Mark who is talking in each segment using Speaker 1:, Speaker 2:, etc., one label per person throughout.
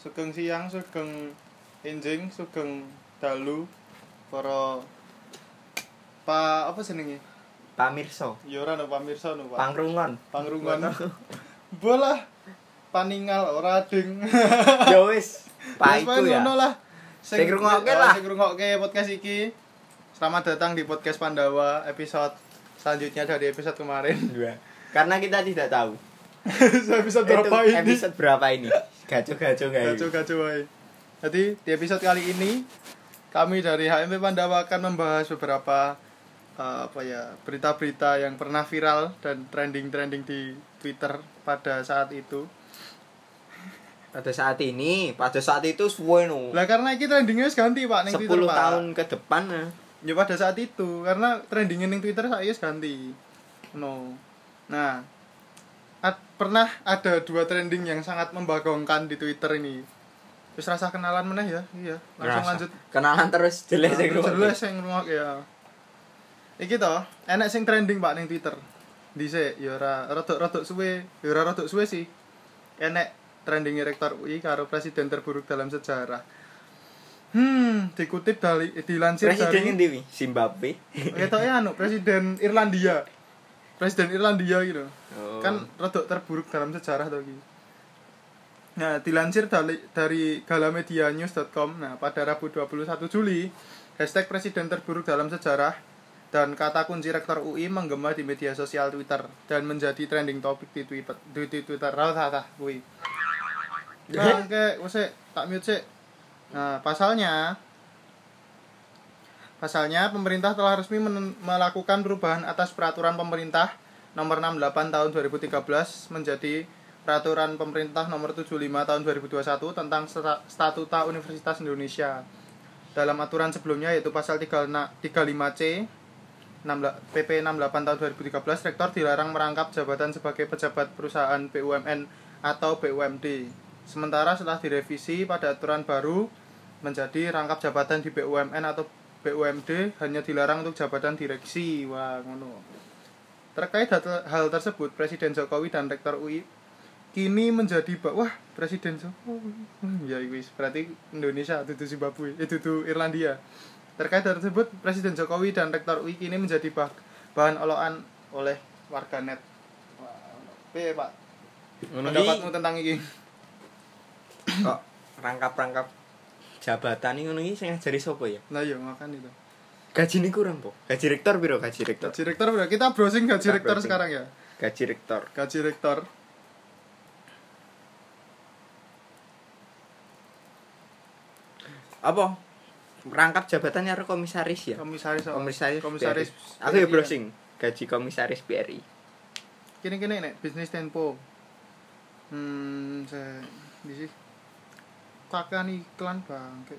Speaker 1: sugeng siang sugeng enjing sugeng dalu para pa apa jenenge
Speaker 2: Pamirso,
Speaker 1: ya ora no pamirsa no Pak
Speaker 2: pangrungon.
Speaker 1: pangrungan bola paningal ora ding
Speaker 2: Ya wis,
Speaker 1: Wes,
Speaker 2: Pak iku
Speaker 1: paling
Speaker 2: ya.
Speaker 1: ngono lah sing Oh,
Speaker 2: Sing ngrungokke lah.
Speaker 1: sing ngrungokke podcast iki selamat datang di podcast Pandawa episode selanjutnya dari episode kemarin
Speaker 2: Dua. Karena kita tidak tahu
Speaker 1: episode
Speaker 2: itu
Speaker 1: berapa ini
Speaker 2: episode berapa ini. Gacu-gacu nggak ini?
Speaker 1: Kacau-kacau wae. Jadi di episode kali ini kami dari HMP Pandawa akan membahas beberapa eh, apa ya berita-berita yang pernah viral dan trending-trending di Twitter pada saat itu.
Speaker 2: Pada saat ini, pada saat itu suwe no.
Speaker 1: Lah karena iki trendingnya wis ganti Pak ning
Speaker 2: 10
Speaker 1: Twitter Pak.
Speaker 2: tahun ke depan eh. nah.
Speaker 1: Ya pada saat itu karena trendingnya ning Twitter saya wis ganti. No. Nah, ad- pernah ada dua trending yang sangat membagongkan di Twitter ini. Terus rasa kenalan meneh ya. Iya, langsung
Speaker 2: Ngerasa.
Speaker 1: lanjut
Speaker 2: Kenalan terus
Speaker 1: Nah,
Speaker 2: jelas sing
Speaker 1: terus
Speaker 2: ngrungokke.
Speaker 1: jelas sing ngrungok ya. Iki to, enek sing trending Pak ning Twitter. Dhisik ya ora rodok-rodok suwe, ya ora rodok suwe sih. Enek trending rektor UI karo presiden terburuk dalam sejarah. Hmm, dikutip dari dilansir
Speaker 2: Presiden
Speaker 1: dari
Speaker 2: endi wi? Zimbabwe.
Speaker 1: ketoke anu presiden Irlandia. Presiden Irlandia gitu.
Speaker 2: Oh.
Speaker 1: Kan rodok terburuk dalam sejarah to iki. Nah, dilansir dari, dari galamedianews.com, nah pada Rabu 21 Juli, hashtag presiden terburuk dalam sejarah dan kata kunci rektor UI menggema di media sosial Twitter dan menjadi trending topik di Twitter, di, di Twitter, rata UI. Nah, oke, usik, tak mute sik. Nah, pasalnya, pasalnya pemerintah telah resmi menen- melakukan perubahan atas peraturan pemerintah nomor 68 tahun 2013 menjadi peraturan pemerintah nomor 75 tahun 2021 tentang Sta- statuta Universitas Indonesia. Dalam aturan sebelumnya yaitu pasal 36 35C 16 PP 68 tahun 2013 rektor dilarang merangkap jabatan sebagai pejabat perusahaan BUMN atau BUMD. Sementara setelah direvisi pada aturan baru menjadi rangkap jabatan di BUMN atau BUMD hanya dilarang untuk jabatan direksi. Wah, ngono. Terkait hal, hal tersebut, Presiden Jokowi dan Rektor UI kini menjadi ba- wah Presiden Jokowi. Hmm, Ya wis, berarti Indonesia itu Zimbabwe, itu Irlandia. Terkait hal tersebut, Presiden Jokowi dan Rektor UI kini menjadi bah- bahan olokan oleh warganet. Wah, Piye, Pak?
Speaker 2: Ngono iki
Speaker 1: Pendapatmu tentang ini?
Speaker 2: kok rangkap-rangkap jabatan iki ngono iki sing ngajari sapa ya?
Speaker 1: Nah, iya makan itu.
Speaker 2: Gaji ini kurang, Po. Gaji rektor piro gaji rektor?
Speaker 1: Gaji rektor udah kita browsing gaji
Speaker 2: Kita
Speaker 1: rektor
Speaker 2: browsing.
Speaker 1: sekarang ya.
Speaker 2: Gaji rektor.
Speaker 1: Gaji rektor.
Speaker 2: Apa? Rangkap jabatannya ada komisaris ya?
Speaker 1: Komisaris apa?
Speaker 2: komisaris
Speaker 1: komisaris
Speaker 2: PRI. aku ya
Speaker 1: PRI.
Speaker 2: browsing gaji komisaris PRI
Speaker 1: kini-kini nek bisnis tempo hmm saya di sih kakan iklan bangke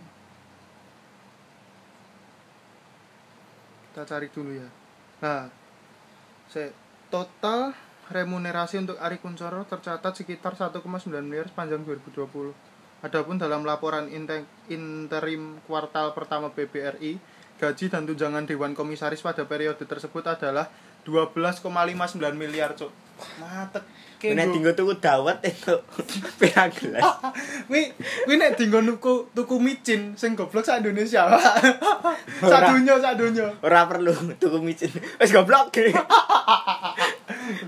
Speaker 1: kita cari dulu ya nah saya total remunerasi untuk Ari Kuncoro tercatat sekitar 1,9 miliar sepanjang 2020 Adapun dalam laporan inte- interim kuartal pertama BBRI, gaji dan tunjangan Dewan Komisaris pada periode tersebut adalah 12,59 miliar, Cuk. Matek.
Speaker 2: ini tinggal tuku dawet itu pirang gelas
Speaker 1: Wi, wi nek dinggo nuku tuku micin sing goblok sak Indonesia, Pak. sak donya, sak donya.
Speaker 2: ora perlu tuku micin wis goblok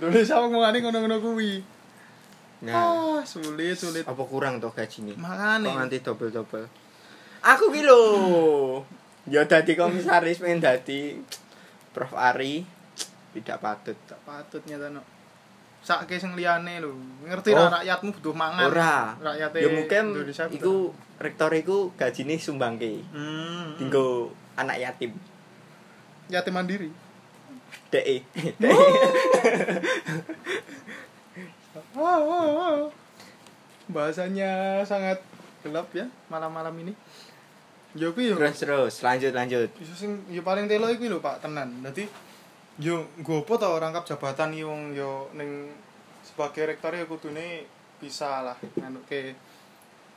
Speaker 1: Indonesia omongane ngono-ngono kuwi.
Speaker 2: nah
Speaker 1: Ah, sulit, sulit.
Speaker 2: apa kurang toh gaji ini kok
Speaker 1: Makane.
Speaker 2: nanti double double aku ki lho
Speaker 1: Hmm.
Speaker 2: ya dadi komisaris pengen dadi Prof Ari tidak patut toh.
Speaker 1: Patutnya tano. Sak sing liyane lho. Ngerti
Speaker 2: Oh.
Speaker 1: ra rakyatmu butuh mangan.
Speaker 2: ora
Speaker 1: Rakyate
Speaker 2: ya mungkin
Speaker 1: Indonesia butuh
Speaker 2: iku rektor iku gajine sumbangke
Speaker 1: Hmm.
Speaker 2: tinggo anak yatim
Speaker 1: Yatim mandiri.
Speaker 2: DE
Speaker 1: Oh, oh, oh. Bahasanya sangat gelap ya malam-malam ini. Ya, Yo kuwi yo.
Speaker 2: terus terus lanjut lanjut
Speaker 1: Iso sing yo paling telo iku lho Pak tenan. Dadi yo nggopo ta rangkap jabatan iki wong yo ning sebagai rektor ya kudune bisa lah nganuke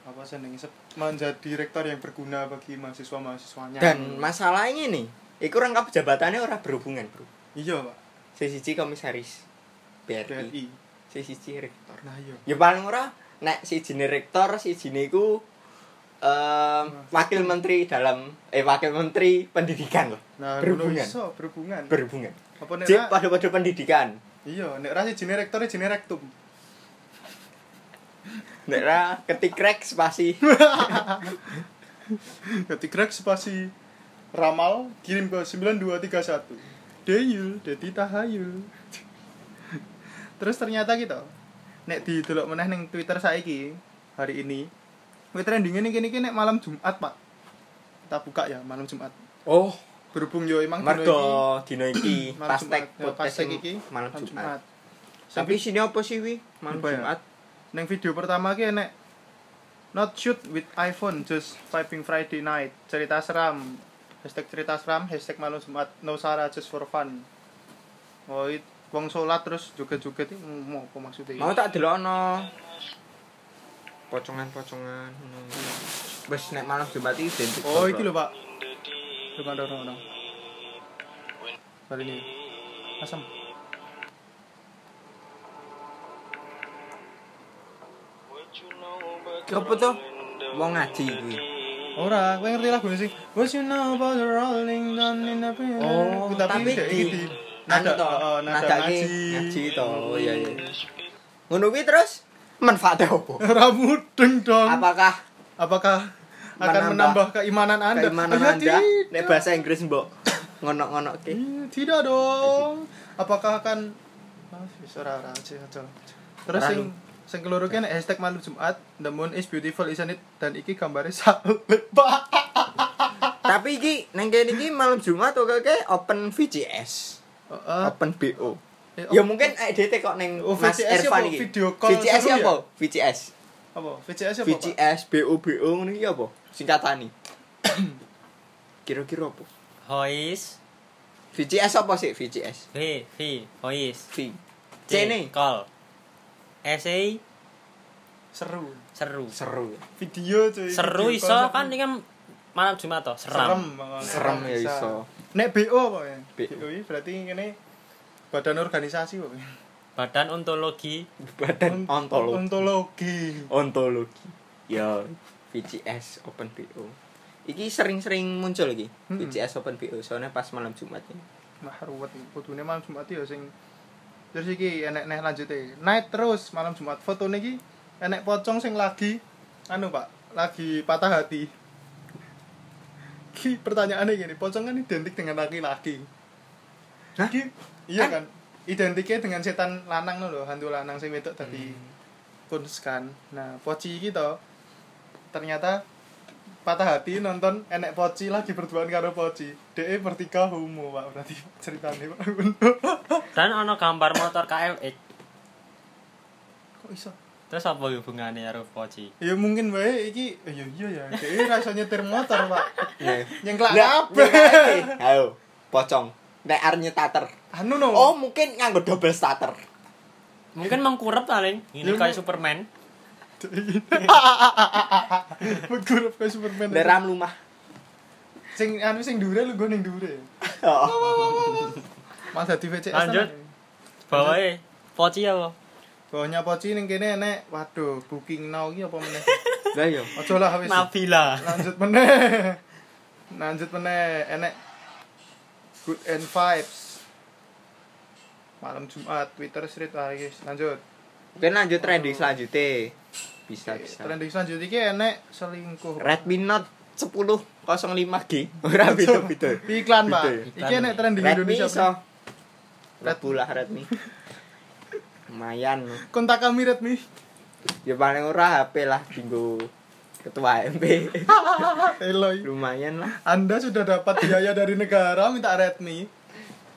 Speaker 1: apa seneng menjadi rektor yang berguna bagi mahasiswa-mahasiswanya.
Speaker 2: Dan masalahnya nih, iku rangkap jabatannya ora berhubungan, Bro.
Speaker 1: iya Pak
Speaker 2: Sisi komisaris BRI,
Speaker 1: BRI.
Speaker 2: sisi rektor.
Speaker 1: Nah iya.
Speaker 2: Ya paling ora nek si rektor si iku eh,
Speaker 1: Nah,
Speaker 2: wakil menteri dalam eh wakil menteri pendidikan loh.
Speaker 1: Nah,
Speaker 2: berhubungan.
Speaker 1: ngono iso, berhubungan.
Speaker 2: Berhubungan.
Speaker 1: Apa nek
Speaker 2: Cek
Speaker 1: ra-
Speaker 2: pada-pada pendidikan.
Speaker 1: Iya, nek ra sijine rektore jenenge rektum.
Speaker 2: Nek ra ketik rek spasi.
Speaker 1: Ketik rek spasi ramal kirim ke 9231. Deyul, Dedi Tahayul. Terus ternyata gitu. Nek didelok meneh ning Twitter saiki hari ini. Kuwi trendingnya nih kene nek malam Jumat, Pak. Kita buka ya malam Jumat.
Speaker 2: Oh,
Speaker 1: Berhubung yo emang dino iki-
Speaker 2: mergo dino iki
Speaker 1: malam Jumat.
Speaker 2: Pastek
Speaker 1: Ya,
Speaker 2: podcast
Speaker 1: Pastek
Speaker 2: iki malam Jumat.
Speaker 1: Sing
Speaker 2: Tapi sini apa sih wi? Malam
Speaker 1: Apa ya?
Speaker 2: Jumat.
Speaker 1: Neng video pertama ki enek Not shoot with iPhone, just vibing Friday night. Cerita seram. Hashtag cerita seram, hashtag malam Jumat. No Sarah, just for fun. Oh, it, wong sholat terus joget-joget itu mau apa maksudnya?
Speaker 2: Mau tak delokno. Pocongan-pocongan ngono. Wis nek malam Jumat iki identik.
Speaker 1: Oh, iki lho, Pak. Coba dorong dorong. Kali ini. Asam.
Speaker 2: Apa tuh? Mau ngaji iki.
Speaker 1: Ora, kowe ngerti lagu sih? What you know about the rolling down in the river?
Speaker 2: Oh, tapi
Speaker 1: dek
Speaker 2: di-
Speaker 1: iki
Speaker 2: Nada
Speaker 1: nada,
Speaker 2: to.
Speaker 1: oh, nada,
Speaker 2: Nada
Speaker 1: ngaji.
Speaker 2: iki ngaji to. Oh iya iya. Ngono kuwi terus manfaatnya apa?
Speaker 1: Ora mudeng dong.
Speaker 2: Apakah
Speaker 1: Apakah akan
Speaker 2: Menambah.
Speaker 1: menambah keimanan Anda?
Speaker 2: keimanan
Speaker 1: Ya,
Speaker 2: Anda
Speaker 1: tidak.
Speaker 2: nek bahasa Inggris mbok ngonok-ngonokke?
Speaker 1: Iya, Tidak dong. Apakah akan Ah, wis, ora ora aja, aja. Terus
Speaker 2: Ora,
Speaker 1: sing sing keloro ki nek hashtag malam Jumat, the moon is beautiful isn't it? Dan iki gambare salib, Pak.
Speaker 2: Tapi iki neng kene iki malam Jumat kok kayak open VCS,
Speaker 1: Heeh.
Speaker 2: open BO.
Speaker 1: Eh,
Speaker 2: Ya
Speaker 1: op-
Speaker 2: mungkin EDT kok neng
Speaker 1: Oh,
Speaker 2: Mas
Speaker 1: VCS ya
Speaker 2: Ervan
Speaker 1: apa?
Speaker 2: iki.
Speaker 1: Video call
Speaker 2: VCS
Speaker 1: seru
Speaker 2: ya
Speaker 1: ya?
Speaker 2: apa? VCS.
Speaker 1: Apa? VCS apa, Pak?
Speaker 2: VCS BO BO ngono iki apa? Singkatane. Kira-kira apa?
Speaker 3: Hois
Speaker 2: VCS apa sih VCS?
Speaker 3: V V Hois
Speaker 2: V. Cene
Speaker 3: Call Essay
Speaker 1: Seru.
Speaker 3: seru
Speaker 2: seru.
Speaker 1: Video cuy.
Speaker 3: Seru
Speaker 1: Video
Speaker 3: iso
Speaker 1: call
Speaker 3: kan ini kan malam Jumat toh
Speaker 1: serem.
Speaker 3: seram
Speaker 1: Serem,
Speaker 2: Serem ya
Speaker 1: bisa.
Speaker 2: iso.
Speaker 1: Nek BO apa ya?
Speaker 2: BO.
Speaker 1: BO ini berarti ini badan organisasi apa ya?
Speaker 3: Badan ontologi
Speaker 2: Badan ontologi.
Speaker 1: Ontologi.
Speaker 2: Ontologi. Ya VCS open BO. Iki sering-sering muncul lagi.
Speaker 1: Mm-mm.
Speaker 2: VCS open BO soalnya pas malam Jumat ini.
Speaker 1: Nah, ruwet iki. Kudune malam Jumat ya sing Terus iki enek neh lanjute. Night terus malam Jumat fotone iki enek pocong sing lagi anu Pak, lagi patah hati. Ki pertanyaannya gini, pocong kan identik dengan laki-laki.
Speaker 2: Hah?
Speaker 1: Ki, iya kan? Identiknya dengan setan lanang no lho, hantu lanang sing wedok tadi
Speaker 2: Hmm.
Speaker 1: kuns kan. Nah, poci iki to ternyata patah hati nonton enek poci lagi berduaan karo poci. DE bertiga homo, Pak, berarti ceritanya Pak.
Speaker 3: dan ono gambar motor KLX
Speaker 1: Kok iso?
Speaker 3: terus apa hubungannya karo Poci
Speaker 1: Ya mungkin bae iki eh, iya iya ya dhewe rasa nyetir motor, Pak.
Speaker 2: Nah,
Speaker 1: Nyengklak
Speaker 2: Lah,
Speaker 1: kabeh.
Speaker 2: nyekake. Ayo, pocong. Nek arep nyetater.
Speaker 1: Anu no.
Speaker 2: Oh, mungkin nganggo double starter.
Speaker 3: mungkin mengkurep paling ini
Speaker 1: Ya,
Speaker 3: kayak
Speaker 1: mu-
Speaker 3: Superman
Speaker 1: Menggurup kayak Superman.
Speaker 2: Leram lumah.
Speaker 1: Sing anu sing dure lu ning dure.
Speaker 2: Oh.
Speaker 1: Mas dadi VCS.
Speaker 3: Lanjut.
Speaker 1: tenan.
Speaker 3: bawahnya Poci apa
Speaker 1: Bawahnya poci ning kene enek waduh booking now iki apa meneh.
Speaker 2: Lah iya. yo.
Speaker 1: Ojo lah wis.
Speaker 3: Nabila
Speaker 1: Lanjut meneh. Lanjut meneh enek Good and Vibes. Malam Jumat Twitter street ah guys. Lanjut.
Speaker 2: Mungkin lanjut trending selanjutnya. Bisa bisa.
Speaker 1: Trending selanjutnya iki enek selingkuh.
Speaker 2: Redmi Note 1005G. Ora beda-beda.
Speaker 1: Iklan, Pak.
Speaker 2: Beda ya?
Speaker 1: Iki enek tren di
Speaker 2: Redmi
Speaker 1: Indonesia.
Speaker 2: iso.
Speaker 1: Pak.
Speaker 2: Lebu lah Redmi. Lumayan.
Speaker 1: Kontak kami Redmi.
Speaker 2: Ya paling ora HP lah tinggu ketua MP.
Speaker 1: Eloy.
Speaker 2: Lumayan lah.
Speaker 1: Anda sudah dapat biaya dari negara minta Redmi.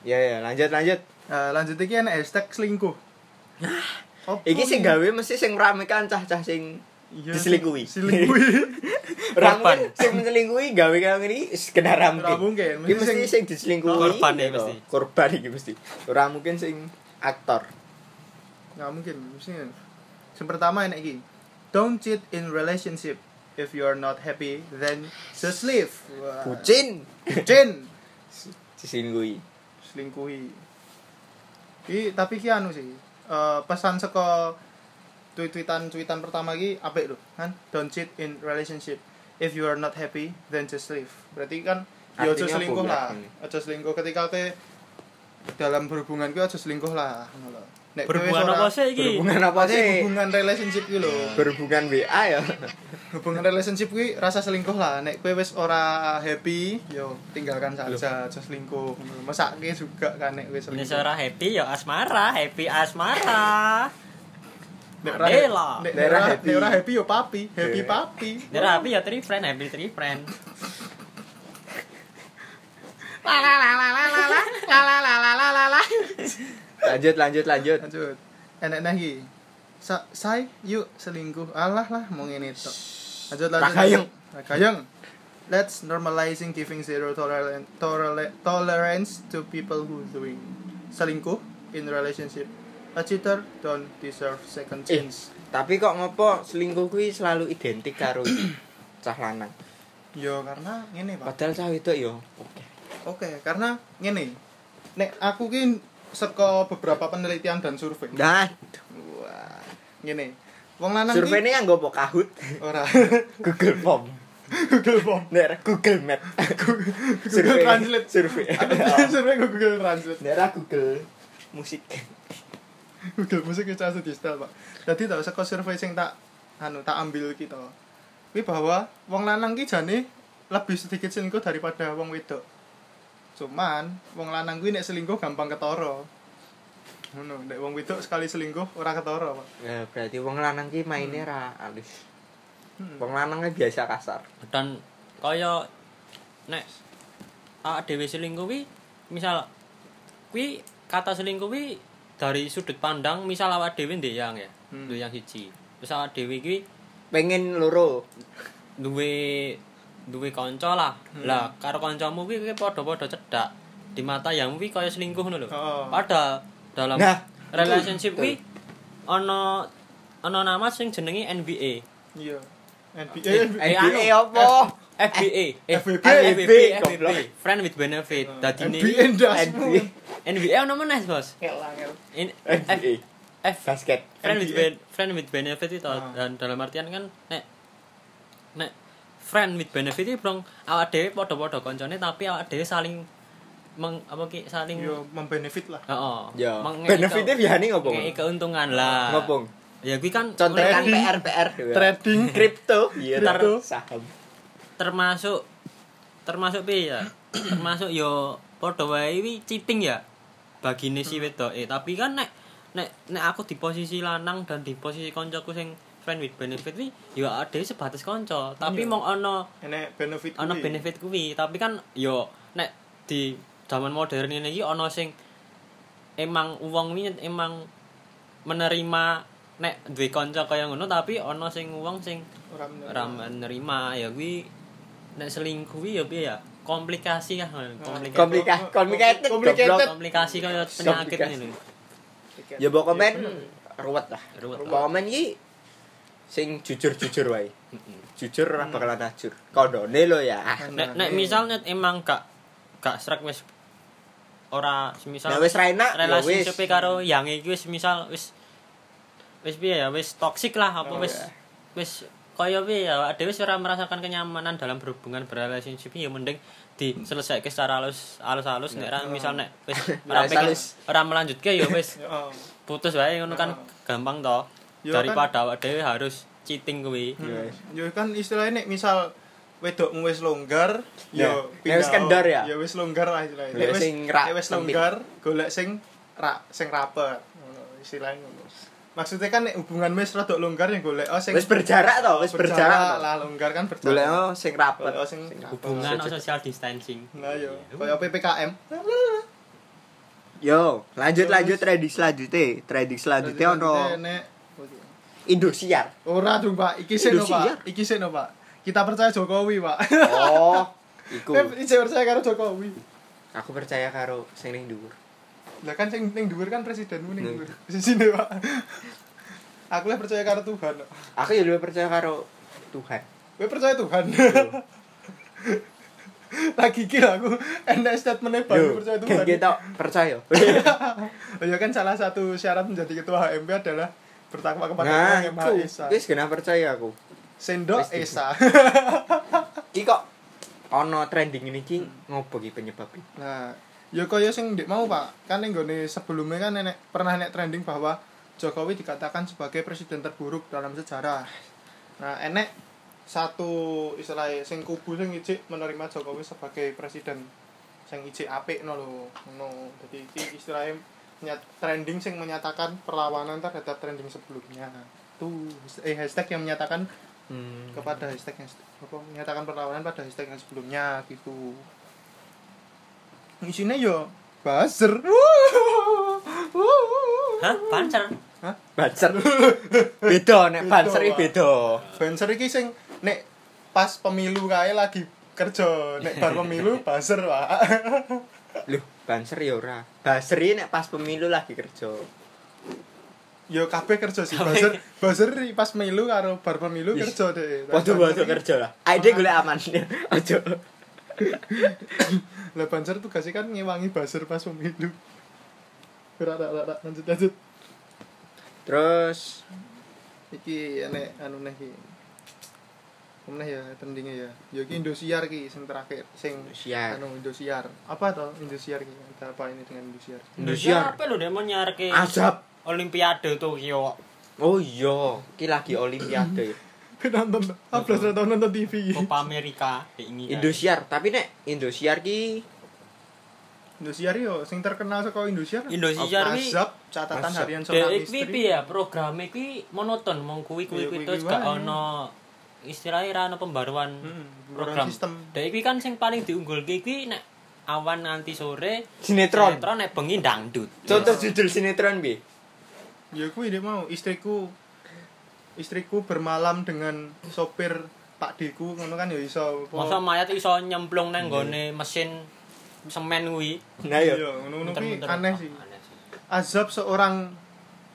Speaker 2: Ya ya, lanjut lanjut.
Speaker 1: Nah, lanjut iki enek hashtag selingkuh. Apa
Speaker 2: Iki sing
Speaker 1: ini?
Speaker 2: gawe mesti sing rame kan cah-cah Oh, iya. sing
Speaker 1: Iya,
Speaker 2: diselingkuhi.
Speaker 1: Diselingkuhi.
Speaker 2: Ora
Speaker 3: Korban.
Speaker 2: mungkin sing menselingkuhi gawe kaya ngene iki sekedar ra
Speaker 1: Ora
Speaker 2: mungkin.
Speaker 1: mungkin.
Speaker 2: Iki mesti
Speaker 1: Mesti sing
Speaker 2: sing diselingkuhi.
Speaker 3: Korban ya,
Speaker 2: gitu.
Speaker 3: mesti.
Speaker 2: Korban iki mesti. Ora mungkin sing aktor.
Speaker 1: nggak mungkin. Mesti sing pertama enek iki. Don't cheat in relationship. If you are not happy, then just leave. Wah.
Speaker 2: Bucin
Speaker 1: Bucin.
Speaker 2: diselingkuhi.
Speaker 1: selingkuhi. I tapi ki anu sih. eh, pesan saka tweet-tweetan tweetan pertama iki apik lho kan don't cheat in relationship if you are not happy then just leave berarti kan ya aja
Speaker 2: Artinya
Speaker 1: selingkuh lah
Speaker 2: bumerang.
Speaker 1: aja selingkuh ketika ke dalam berhubungan kuwi aja selingkuh lah ngono lho Nek kowe
Speaker 3: Berhubungan
Speaker 1: wis ora-
Speaker 3: apa sih iki?
Speaker 2: Berhubungan apa
Speaker 1: Pasti
Speaker 2: sih?
Speaker 1: hubungan relationship kuwi lho
Speaker 2: Berhubungan WA ya.
Speaker 1: hubungan relationship kuwi rasa selingkuh lah nek kowe wis ora happy yo tinggalkan saja aja selingkuh mesake juga kan nek kowe
Speaker 3: Ini
Speaker 1: selingkuh
Speaker 3: seorang happy ya asmara, happy asmara.
Speaker 1: Nek ora
Speaker 3: Adela.
Speaker 1: nek-
Speaker 2: Nek
Speaker 1: nek
Speaker 2: ora
Speaker 1: ora
Speaker 2: happy.
Speaker 1: happy. Nek ora happy yo papi, happy
Speaker 2: Yeah.
Speaker 1: papi.
Speaker 3: Ini happy ya three friend, happy three friend.
Speaker 2: Lanjut lanjut lanjut.
Speaker 1: Lanjut. Enak nah iki. Sa say yuk selingkuh. Alah lah mau ngene tok. Lanjut lanjut.
Speaker 2: Rakayeng.
Speaker 1: Rakayeng. Let's normalizing giving zero tolerance tolerance to people who doing selingkuh in relationship. A cheater don't deserve second
Speaker 2: Eh.
Speaker 1: chance.
Speaker 2: Tapi kok ngopo selingkuh kuwi selalu identik karo iki? cah lanang.
Speaker 1: Yo karena ngene, Pak.
Speaker 2: Padahal cah itu yo. Oke.
Speaker 1: Oke, karena ngene. Nek aku ki seko beberapa penelitian dan survei.
Speaker 2: Nah,
Speaker 1: Wah. Ngene. Wong lanang ki-
Speaker 2: survei ini yang gue kahut
Speaker 1: ora.
Speaker 2: Google Form.
Speaker 1: Google Form.
Speaker 2: Nek Google Map.
Speaker 1: Google Translate.
Speaker 2: Survei.
Speaker 1: survei ke Google Translate.
Speaker 2: Nek Google musik.
Speaker 1: Google Musik itu asli digital, Pak. Jadi tak seko survei sing tak anu tak ambil kita. Kuwi bahwa wong lanang ki jane lebih sedikit selingkuh daripada wong wedok. Cuman wong lanang kuwi nek selingkuh gampang ketara. Ngono, nek wong wedok sekali selingkuh ora ketara, Pak.
Speaker 2: Ya, berarti wong lanang ki mainnya ra alus.
Speaker 1: Hmm.
Speaker 2: Wong lanangnya biasa kasar.
Speaker 3: Dan kaya nek awak dhewe selingkuh kuwi misal kuwi kata selingkuh kuwi dari sudut pandang misal awak dhewe ndeyang ya,
Speaker 1: Hmm.
Speaker 3: ndeyang siji. Terus awak dhewe kuwi
Speaker 2: Pengen loro.
Speaker 3: duwe duwe kanca lah.
Speaker 1: Hmm.
Speaker 3: Lah karo kancamu kuwi kuwi padha-padha cedak. Di mata yang kuwi kaya selingkuh ngono lho.
Speaker 1: Oh.
Speaker 3: Padahal dalam
Speaker 2: Nah,
Speaker 3: relationship
Speaker 2: betul,
Speaker 3: kuwi ana ana nama sing jenenge NBA.
Speaker 1: Iya. NBA.
Speaker 3: Eh, anu.
Speaker 2: NBA apa?
Speaker 3: FBA, eh,
Speaker 1: FBB.
Speaker 3: FBB,
Speaker 2: Goblok.
Speaker 3: FBB, friend with benefit. Dadi ini
Speaker 1: NBA ndasmu.
Speaker 2: NBA.
Speaker 3: NBA Eh, ono meneh, Bos.
Speaker 2: NBA.
Speaker 3: In F, F
Speaker 2: Eh, Basket.
Speaker 3: friend with
Speaker 1: NBA.
Speaker 3: ben, friend with benefit itu
Speaker 1: Ah.
Speaker 3: dan dalam artian kan nek nek friend with benefit itu bro awak dhewe padha-padha koncone tapi awak dhewe saling meng, apa ki saling
Speaker 1: Yo Iya, membenefit lah.
Speaker 3: Heeh.
Speaker 2: Ya.
Speaker 3: mengei
Speaker 2: Benefitnya
Speaker 3: ke-
Speaker 2: biasanya ngopong.
Speaker 3: mengei keuntungan lah.
Speaker 2: Ngopong.
Speaker 3: Ya kuwi kan
Speaker 2: Contekan
Speaker 1: Trading.
Speaker 2: PR PR.
Speaker 1: Trading.
Speaker 2: kripto. Iya,
Speaker 1: Kripto.
Speaker 2: ter- saham.
Speaker 3: termasuk termasuk piye ya termasuk yo padha wae wi cheating ya bagine si wedoke tapi kan nek nek nek aku di posisi lanang dan di posisi koncoku sing friend with benefit wi yo ade sebatas konco tapi
Speaker 1: Iya.
Speaker 3: mong ono
Speaker 1: Enek benefit.
Speaker 3: ono
Speaker 1: kuwi.
Speaker 3: benefit kuwi tapi kan yo nek di zaman modern ini iki ono sing emang uang wi emang menerima nek duwe kanca kaya ngono tapi ono sing uang sing
Speaker 1: Ora menerima.
Speaker 3: ora nerima ya kuwi nek selingkuh kuwi ya piye ya komplikasi kan
Speaker 2: Hmm.
Speaker 3: komplikasi
Speaker 2: Komplikasi. Complicated.
Speaker 1: Complicated.
Speaker 2: goblok.
Speaker 3: komplikasi kaya penyakit
Speaker 2: Komplikasi.
Speaker 3: ini lho.
Speaker 1: Tiket. Iya,
Speaker 2: Ya pokoknya men ruwet lah.
Speaker 3: Ruwet.
Speaker 2: Pokoknya men iki sing jujur-jujur wae. Jujur ora bakalan ajur. Kondone lo ya.
Speaker 3: nek nek misal nek emang gak gak srek wis ora semisal
Speaker 2: Nah wis ra enak ya wis.
Speaker 3: relationship karo yang iki wis misal wis wis piye ya wis toksik lah apa
Speaker 1: Oh,
Speaker 3: wis
Speaker 2: ya.
Speaker 3: wis kaya piye ya awake dhewe wis ora merasakan kenyamanan dalam berhubungan berrelationship ya mending diselesaike secara halus halus-halus nek ra misal nek wis ora
Speaker 2: Halus-
Speaker 3: pengen-
Speaker 2: halus.
Speaker 3: ora melanjutke ya wis
Speaker 1: Ya, oh.
Speaker 3: putus wae ngono kan gampang to
Speaker 1: Ya,
Speaker 3: daripada awake dhewe harus cheating kuwi
Speaker 2: Ya wis.
Speaker 1: Ya kan istilahnya nek misal wedokmu wis longgar, ya
Speaker 2: Ya. Nek wis kendor ya?
Speaker 1: Ya wis longgar lah istilahnya.
Speaker 2: Golek
Speaker 1: Nek wis
Speaker 2: sing ra-
Speaker 1: nek wis
Speaker 2: sempit.
Speaker 1: longgar, golek sing ra sing rapet. Ngono istilahnya ngono. Maksudnya kan nek hubungan wis rada longgar yang golek oh sing
Speaker 2: Wis berjarak to, wis berjarak. to.
Speaker 1: lah longgar kan
Speaker 2: Golek
Speaker 1: berjarak.
Speaker 2: oh, sing rapet.
Speaker 1: Golek oh sing rapet.
Speaker 3: hubungan no social distancing
Speaker 1: Nah yo, kaya PPKM.
Speaker 2: Yo, lanjut
Speaker 1: Terus.
Speaker 2: lanjut trading selanjutnya. Trading selanjutnya ono
Speaker 1: nek
Speaker 2: Indosiar.
Speaker 1: Ora dong Pak, iki seno
Speaker 2: Indosiar.
Speaker 1: Pak. Iki seno Pak. Kita percaya Jokowi, Pak.
Speaker 2: Oh, iku.
Speaker 1: Eh, Iki percaya karo Jokowi.
Speaker 2: Aku percaya karo sing ning dhuwur.
Speaker 1: Lah kan sing ning dhuwur kan presidenmu ning
Speaker 2: Ning.
Speaker 1: dhuwur. Sisine, Pak. Aku lah percaya karo Tuhan. kok.
Speaker 2: Aku ya lebih percaya karo Tuhan.
Speaker 1: Kowe percaya Tuhan.
Speaker 2: Iya.
Speaker 1: Lagi kira aku enak statementnya baru percaya
Speaker 2: gitu.
Speaker 1: Tuhan. Iya
Speaker 2: kita percaya.
Speaker 1: Oh ya kan salah satu syarat menjadi ketua HMP adalah bertakwa kepada
Speaker 2: Nah,
Speaker 1: Allah yang Maha
Speaker 2: iku.
Speaker 1: Esa.
Speaker 2: Wis kena percaya aku.
Speaker 1: Sendok
Speaker 2: wis di-
Speaker 1: Esa.
Speaker 2: Iki kok ono trending ini
Speaker 1: Hmm.
Speaker 2: ki ngopo ki penyebab iki?
Speaker 1: Nah, ya kaya sing ndek mau Pak, kan ning gone sebelumnya kan nenek pernah nek trending bahwa Jokowi dikatakan sebagai presiden terburuk dalam sejarah. Nah, enek satu istilahnya sing kubu sing ijik menerima Jokowi sebagai presiden sing ijik apik no lho. Ngono. Dadi iki istilahnya menyat- trending sing menyatakan perlawanan terhadap trending sebelumnya. Tuh, eh hashtag yang menyatakan
Speaker 2: Hmm.
Speaker 1: kepada hashtag yang apa menyatakan perlawanan pada hashtag yang sebelumnya gitu isinya yo buzzer
Speaker 3: Hah? Pancer?
Speaker 2: Banser. beda
Speaker 1: Beda,
Speaker 2: nek banser iki
Speaker 1: Pak.
Speaker 2: beda.
Speaker 1: buzzer iki sing nek pas pemilu kae lagi kerja nek bar pemilu buzzer pak
Speaker 2: Loh, banser ya ora. Banser iki nek pas pemilu lagi kerja.
Speaker 1: yo kabeh kerja sih buzzer buzzer iki pas pemilu karo bar pemilu
Speaker 2: Ih,
Speaker 1: kerja deh
Speaker 2: Waduh-waduh kerja lah. Ide golek aman. Ojo.
Speaker 1: lah buzzer tugasnya kan ngewangi buzzer pas pemilu ora ora ora lanjut lanjut
Speaker 2: Terus
Speaker 1: iki enek anu neh iki Apa neh ya trendingnya ya ya iki Indosiar ki sing terakhir sing
Speaker 2: siar.
Speaker 1: anu Indosiar apa toh Indosiar ki ada apa ini dengan Indosiar
Speaker 3: Hmm.
Speaker 2: Indosiar.
Speaker 3: Apa lu deh mau nyarke
Speaker 2: Azab.
Speaker 3: Olimpiade Tokyo?
Speaker 2: Oh iya, ki lagi olimpiade.
Speaker 1: Ku nonton apa sudah tahun nonton TV
Speaker 3: Copa America di ini. kan.
Speaker 2: Indosiar, tapi nek Indosiar ki
Speaker 1: Indosiar yo sing terkenal saka Indosiar
Speaker 3: Indosiar ki-
Speaker 1: Azab catatan
Speaker 2: Azab.
Speaker 1: harian seorang
Speaker 3: Dek iki
Speaker 1: istri
Speaker 3: piye ya programe kuwi monoton mong kuwi kuwi
Speaker 1: Iya,
Speaker 3: kuwi
Speaker 1: kuwi-kuwi
Speaker 3: terus gak
Speaker 1: wae.
Speaker 3: ono istilahnya ra ono pembaruan
Speaker 1: Hmm, pembaruan
Speaker 3: program.
Speaker 1: sistem.
Speaker 3: Dek iki kan sing paling diunggulke kuwi nek awan nganti sore
Speaker 2: sinetron.
Speaker 3: sinetron nek bengi dangdut.
Speaker 2: Contoh judul sinetron bi.
Speaker 1: ya kuwi dia mau istriku istriku bermalam dengan sopir Pak Deku ngono kan ya iso apa-
Speaker 3: Masa mayat iso nyemplung nang nggone mesin semen kuwi.
Speaker 2: Nah
Speaker 1: iya
Speaker 2: yo.
Speaker 1: ngono-ngono kuwi
Speaker 3: Muter-muter.
Speaker 1: aneh sih
Speaker 3: Aneh sih.
Speaker 1: Azab seorang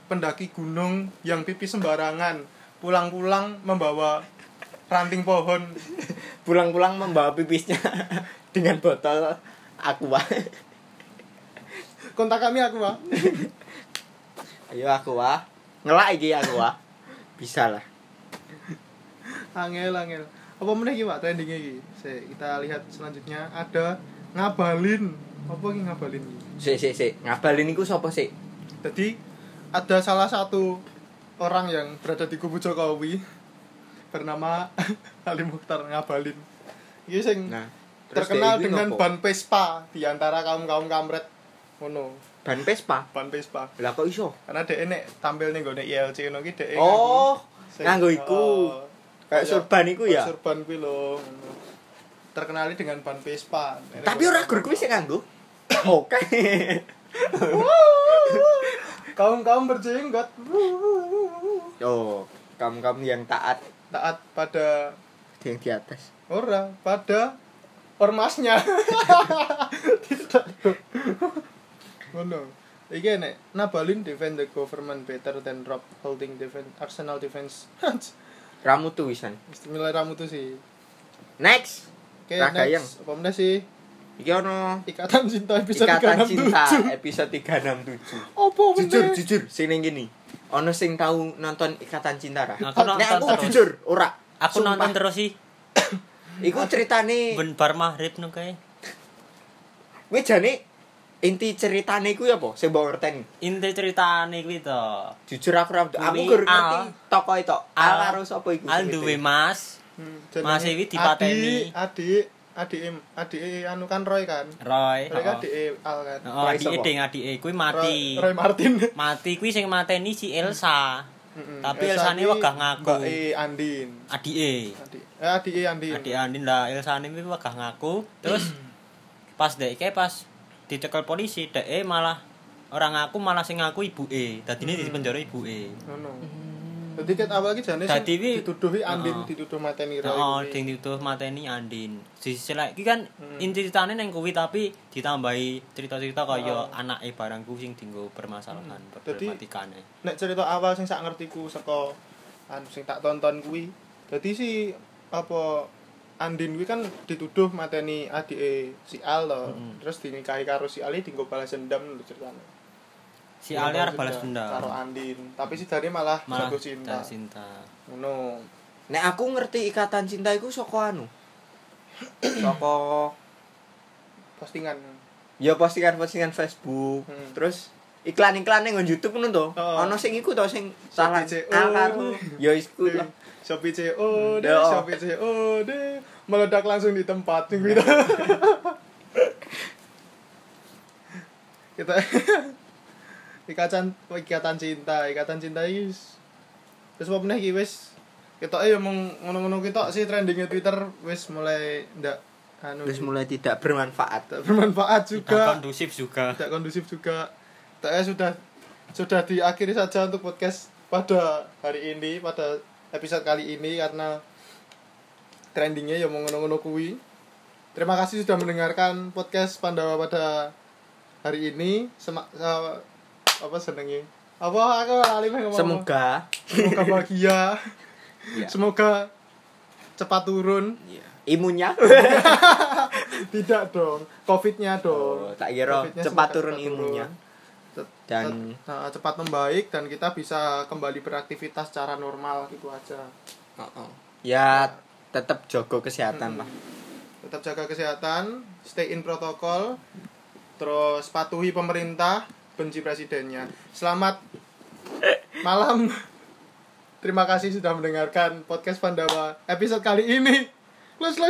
Speaker 1: pendaki gunung yang pipi sembarangan, pulang-pulang membawa ranting pohon.
Speaker 2: Pulang-pulang membawa pipisnya dengan botol aqua.
Speaker 1: Kontak kami aku, Pak.
Speaker 2: Ayo aqua. Ngelak iki aqua. Bisa lah.
Speaker 1: Angel, angel. Apa meneh iki, Pak, trendingnya iki? Sik, kita lihat selanjutnya ada ngabalin. Apa iki ngabalin?
Speaker 2: Sik sik sik. Ngabalin iku sapa sik?
Speaker 1: Jadi ada salah satu orang yang berada di kubu Jokowi bernama Ali Mukhtar ngabalin. Iki sing
Speaker 2: Nah, terus
Speaker 1: terkenal
Speaker 2: dia iki
Speaker 1: dengan
Speaker 2: ngopo?
Speaker 1: ban Vespa di antara kaum-kaum kamret. Ngono,
Speaker 2: ban Vespa.
Speaker 1: ban Vespa.
Speaker 2: Lah kok iso?
Speaker 1: karena dia nek tampil nih gue ILC ngono ki dia
Speaker 2: Oh,
Speaker 1: sing-
Speaker 2: nganggo iku.
Speaker 1: Oh,
Speaker 2: Kayak
Speaker 1: iya.
Speaker 2: surban iku ya.
Speaker 1: Kayak surban kuwi lho ngono. terkenali dengan ban Vespa Nek
Speaker 2: Tapi
Speaker 1: gue-
Speaker 2: ora gur kuwi sing nganggo. Oke.
Speaker 1: kaum kaum berjenggot
Speaker 2: Oh, kamu-kamu yang taat
Speaker 1: taat pada
Speaker 2: yang di atas.
Speaker 1: ora pada ormasnya Tidak. ngono Iki nek Nabalin defend the government better than Rob holding defend Arsenal defense.
Speaker 2: Ramu tuh wisan.
Speaker 1: Istimewa ramu tuh sih.
Speaker 2: Next.
Speaker 1: Oke,
Speaker 2: Ragayeng.
Speaker 1: next. Apa meneh sih?
Speaker 2: Iki ono
Speaker 1: Ikatan Cinta episode
Speaker 2: Ikatan
Speaker 1: 367.
Speaker 2: Cinta episode 367.
Speaker 1: Apa
Speaker 3: Oh,
Speaker 1: meneh?
Speaker 2: Jujur, jujur, sing ning gini. Ono sing tahu nonton Ikatan Cinta ra?
Speaker 3: Aku
Speaker 2: Nek
Speaker 3: nonton
Speaker 2: aku
Speaker 3: terus.
Speaker 2: jujur, ora.
Speaker 3: Aku
Speaker 2: Sumpah.
Speaker 3: nonton terus sih
Speaker 2: Iku ceritane
Speaker 3: ben bar maghrib nang kae.
Speaker 2: kuwi jane inti ceritane kuwi apa? Sing mbok ngerteni.
Speaker 3: Inti ceritane kuwi to.
Speaker 2: Jujur aku ra aku
Speaker 3: Kuwi
Speaker 2: gur
Speaker 3: Al.
Speaker 2: ngerti tokoh itu. Al
Speaker 3: Al-
Speaker 2: karo sapa iku?
Speaker 3: Al
Speaker 2: sing
Speaker 3: duwe
Speaker 2: itu?
Speaker 3: Mas
Speaker 1: Hmm, jenenge
Speaker 3: Mas Ewi dipateni.
Speaker 1: Adik, adik, adik, adik anu kan Roy kan.
Speaker 3: Roy.
Speaker 1: Roy kan
Speaker 3: heeh.
Speaker 1: adik Al kan.
Speaker 3: Oh,
Speaker 2: Roy
Speaker 3: adike
Speaker 2: sapa?
Speaker 3: ding adike kuwi
Speaker 1: Roy,
Speaker 3: mati.
Speaker 1: Roy Martin.
Speaker 3: Mati kuwi sing mateni si Elsa.
Speaker 1: Mm-mm.
Speaker 3: Tapi
Speaker 1: Elsa
Speaker 3: Elsane
Speaker 1: iki
Speaker 3: wegah ngaku.
Speaker 1: Mbak E Andin.
Speaker 3: Adike.
Speaker 1: Adik, eh adik E Andin.
Speaker 3: Adik Andin lah Elsane kuwi wegah ngaku.
Speaker 1: Mm.
Speaker 3: Terus pas dheke pas dicekel polisi, dheke malah orang ngaku malah sing ngaku ibuke.
Speaker 1: Mm.
Speaker 3: Dadine di penjara ibuke.
Speaker 1: Ngono. Dadi ket awal iki jane
Speaker 3: Dadi wi-
Speaker 1: dituduhi Andin
Speaker 3: Heeh.
Speaker 1: dituduh mateni Roy.
Speaker 3: Oh,
Speaker 1: kuwi.
Speaker 3: ding dituduh mateni Andin. Di sisi lain iki kan
Speaker 1: Mm.
Speaker 3: inti ceritane neng kuwi tapi ditambahi cerita-cerita kaya anake barang kuwi sing dienggo permasalahan
Speaker 1: Dadi-
Speaker 3: problematikane.
Speaker 1: nek cerita awal sing sak ngertiku saka anu sing tak tonton kuwi dadi si apa Andin kuwi kan dituduh mateni adike si Al to.
Speaker 3: Mm-mm.
Speaker 1: Terus dinikahi karo si Ali dinggo balas dendam lho ceritane.
Speaker 3: si
Speaker 1: Ya,
Speaker 3: Ali
Speaker 1: tahu
Speaker 3: arep balas
Speaker 1: sudah,
Speaker 3: dendam
Speaker 1: karo Andin tapi si Dari malah,
Speaker 3: malah
Speaker 1: jatuh cinta
Speaker 3: jatuh cinta
Speaker 1: ngono
Speaker 2: Nek aku ngerti ikatan cinta iku saka anu. Saka
Speaker 1: postingan
Speaker 2: ya postingan-postingan Facebook,
Speaker 1: Hmm.
Speaker 2: terus iklan-iklan yang di YouTube ngono to.
Speaker 1: Oh.
Speaker 2: Ono sing iku to sing salah
Speaker 1: Shopee CO.
Speaker 2: akar. Ya iku lah.
Speaker 1: Shopee COD,
Speaker 2: Yo.
Speaker 1: Shopee COD meledak langsung di tempat gitu. kita ikatan ikatan cinta, ikatan cinta ini wis- terus apa meneh iki wis kita eh mau ngono-ngono kita sih trendingnya Twitter wis mulai ndak anu
Speaker 2: Terus mulai tidak bermanfaat.
Speaker 1: ndak bermanfaat
Speaker 3: tidak
Speaker 1: juga,
Speaker 3: kondusif juga
Speaker 1: tidak kondusif juga. Kita sudah sudah diakhiri saja untuk podcast pada hari ini, pada episode kali ini karena trendingnya ya mau ngono-ngono kuwi. Terima kasih sudah mendengarkan podcast Pandawa pada hari ini. Semak eh, apa senengnya? Apa aku lali meh ngomong.
Speaker 2: Semoga
Speaker 1: semoga bahagia.
Speaker 2: Iya.
Speaker 1: Semoga cepat turun.
Speaker 2: imunnya
Speaker 1: Tidak dong. Covidnya dong.
Speaker 2: Oh, tak kira
Speaker 1: Covidnya
Speaker 2: cepat
Speaker 1: semoga
Speaker 2: turun imunnya
Speaker 1: Cet-
Speaker 2: dan
Speaker 1: Nah, cepat membaik dan kita bisa kembali beraktivitas secara normal gitu aja.
Speaker 2: ya tetap jaga kesehatan lah.
Speaker 1: Tetap jaga kesehatan, stay in protokol, terus patuhi pemerintah, benci presidennya. Selamat malam. Terima kasih sudah mendengarkan podcast Pandawa episode kali ini. Close, close,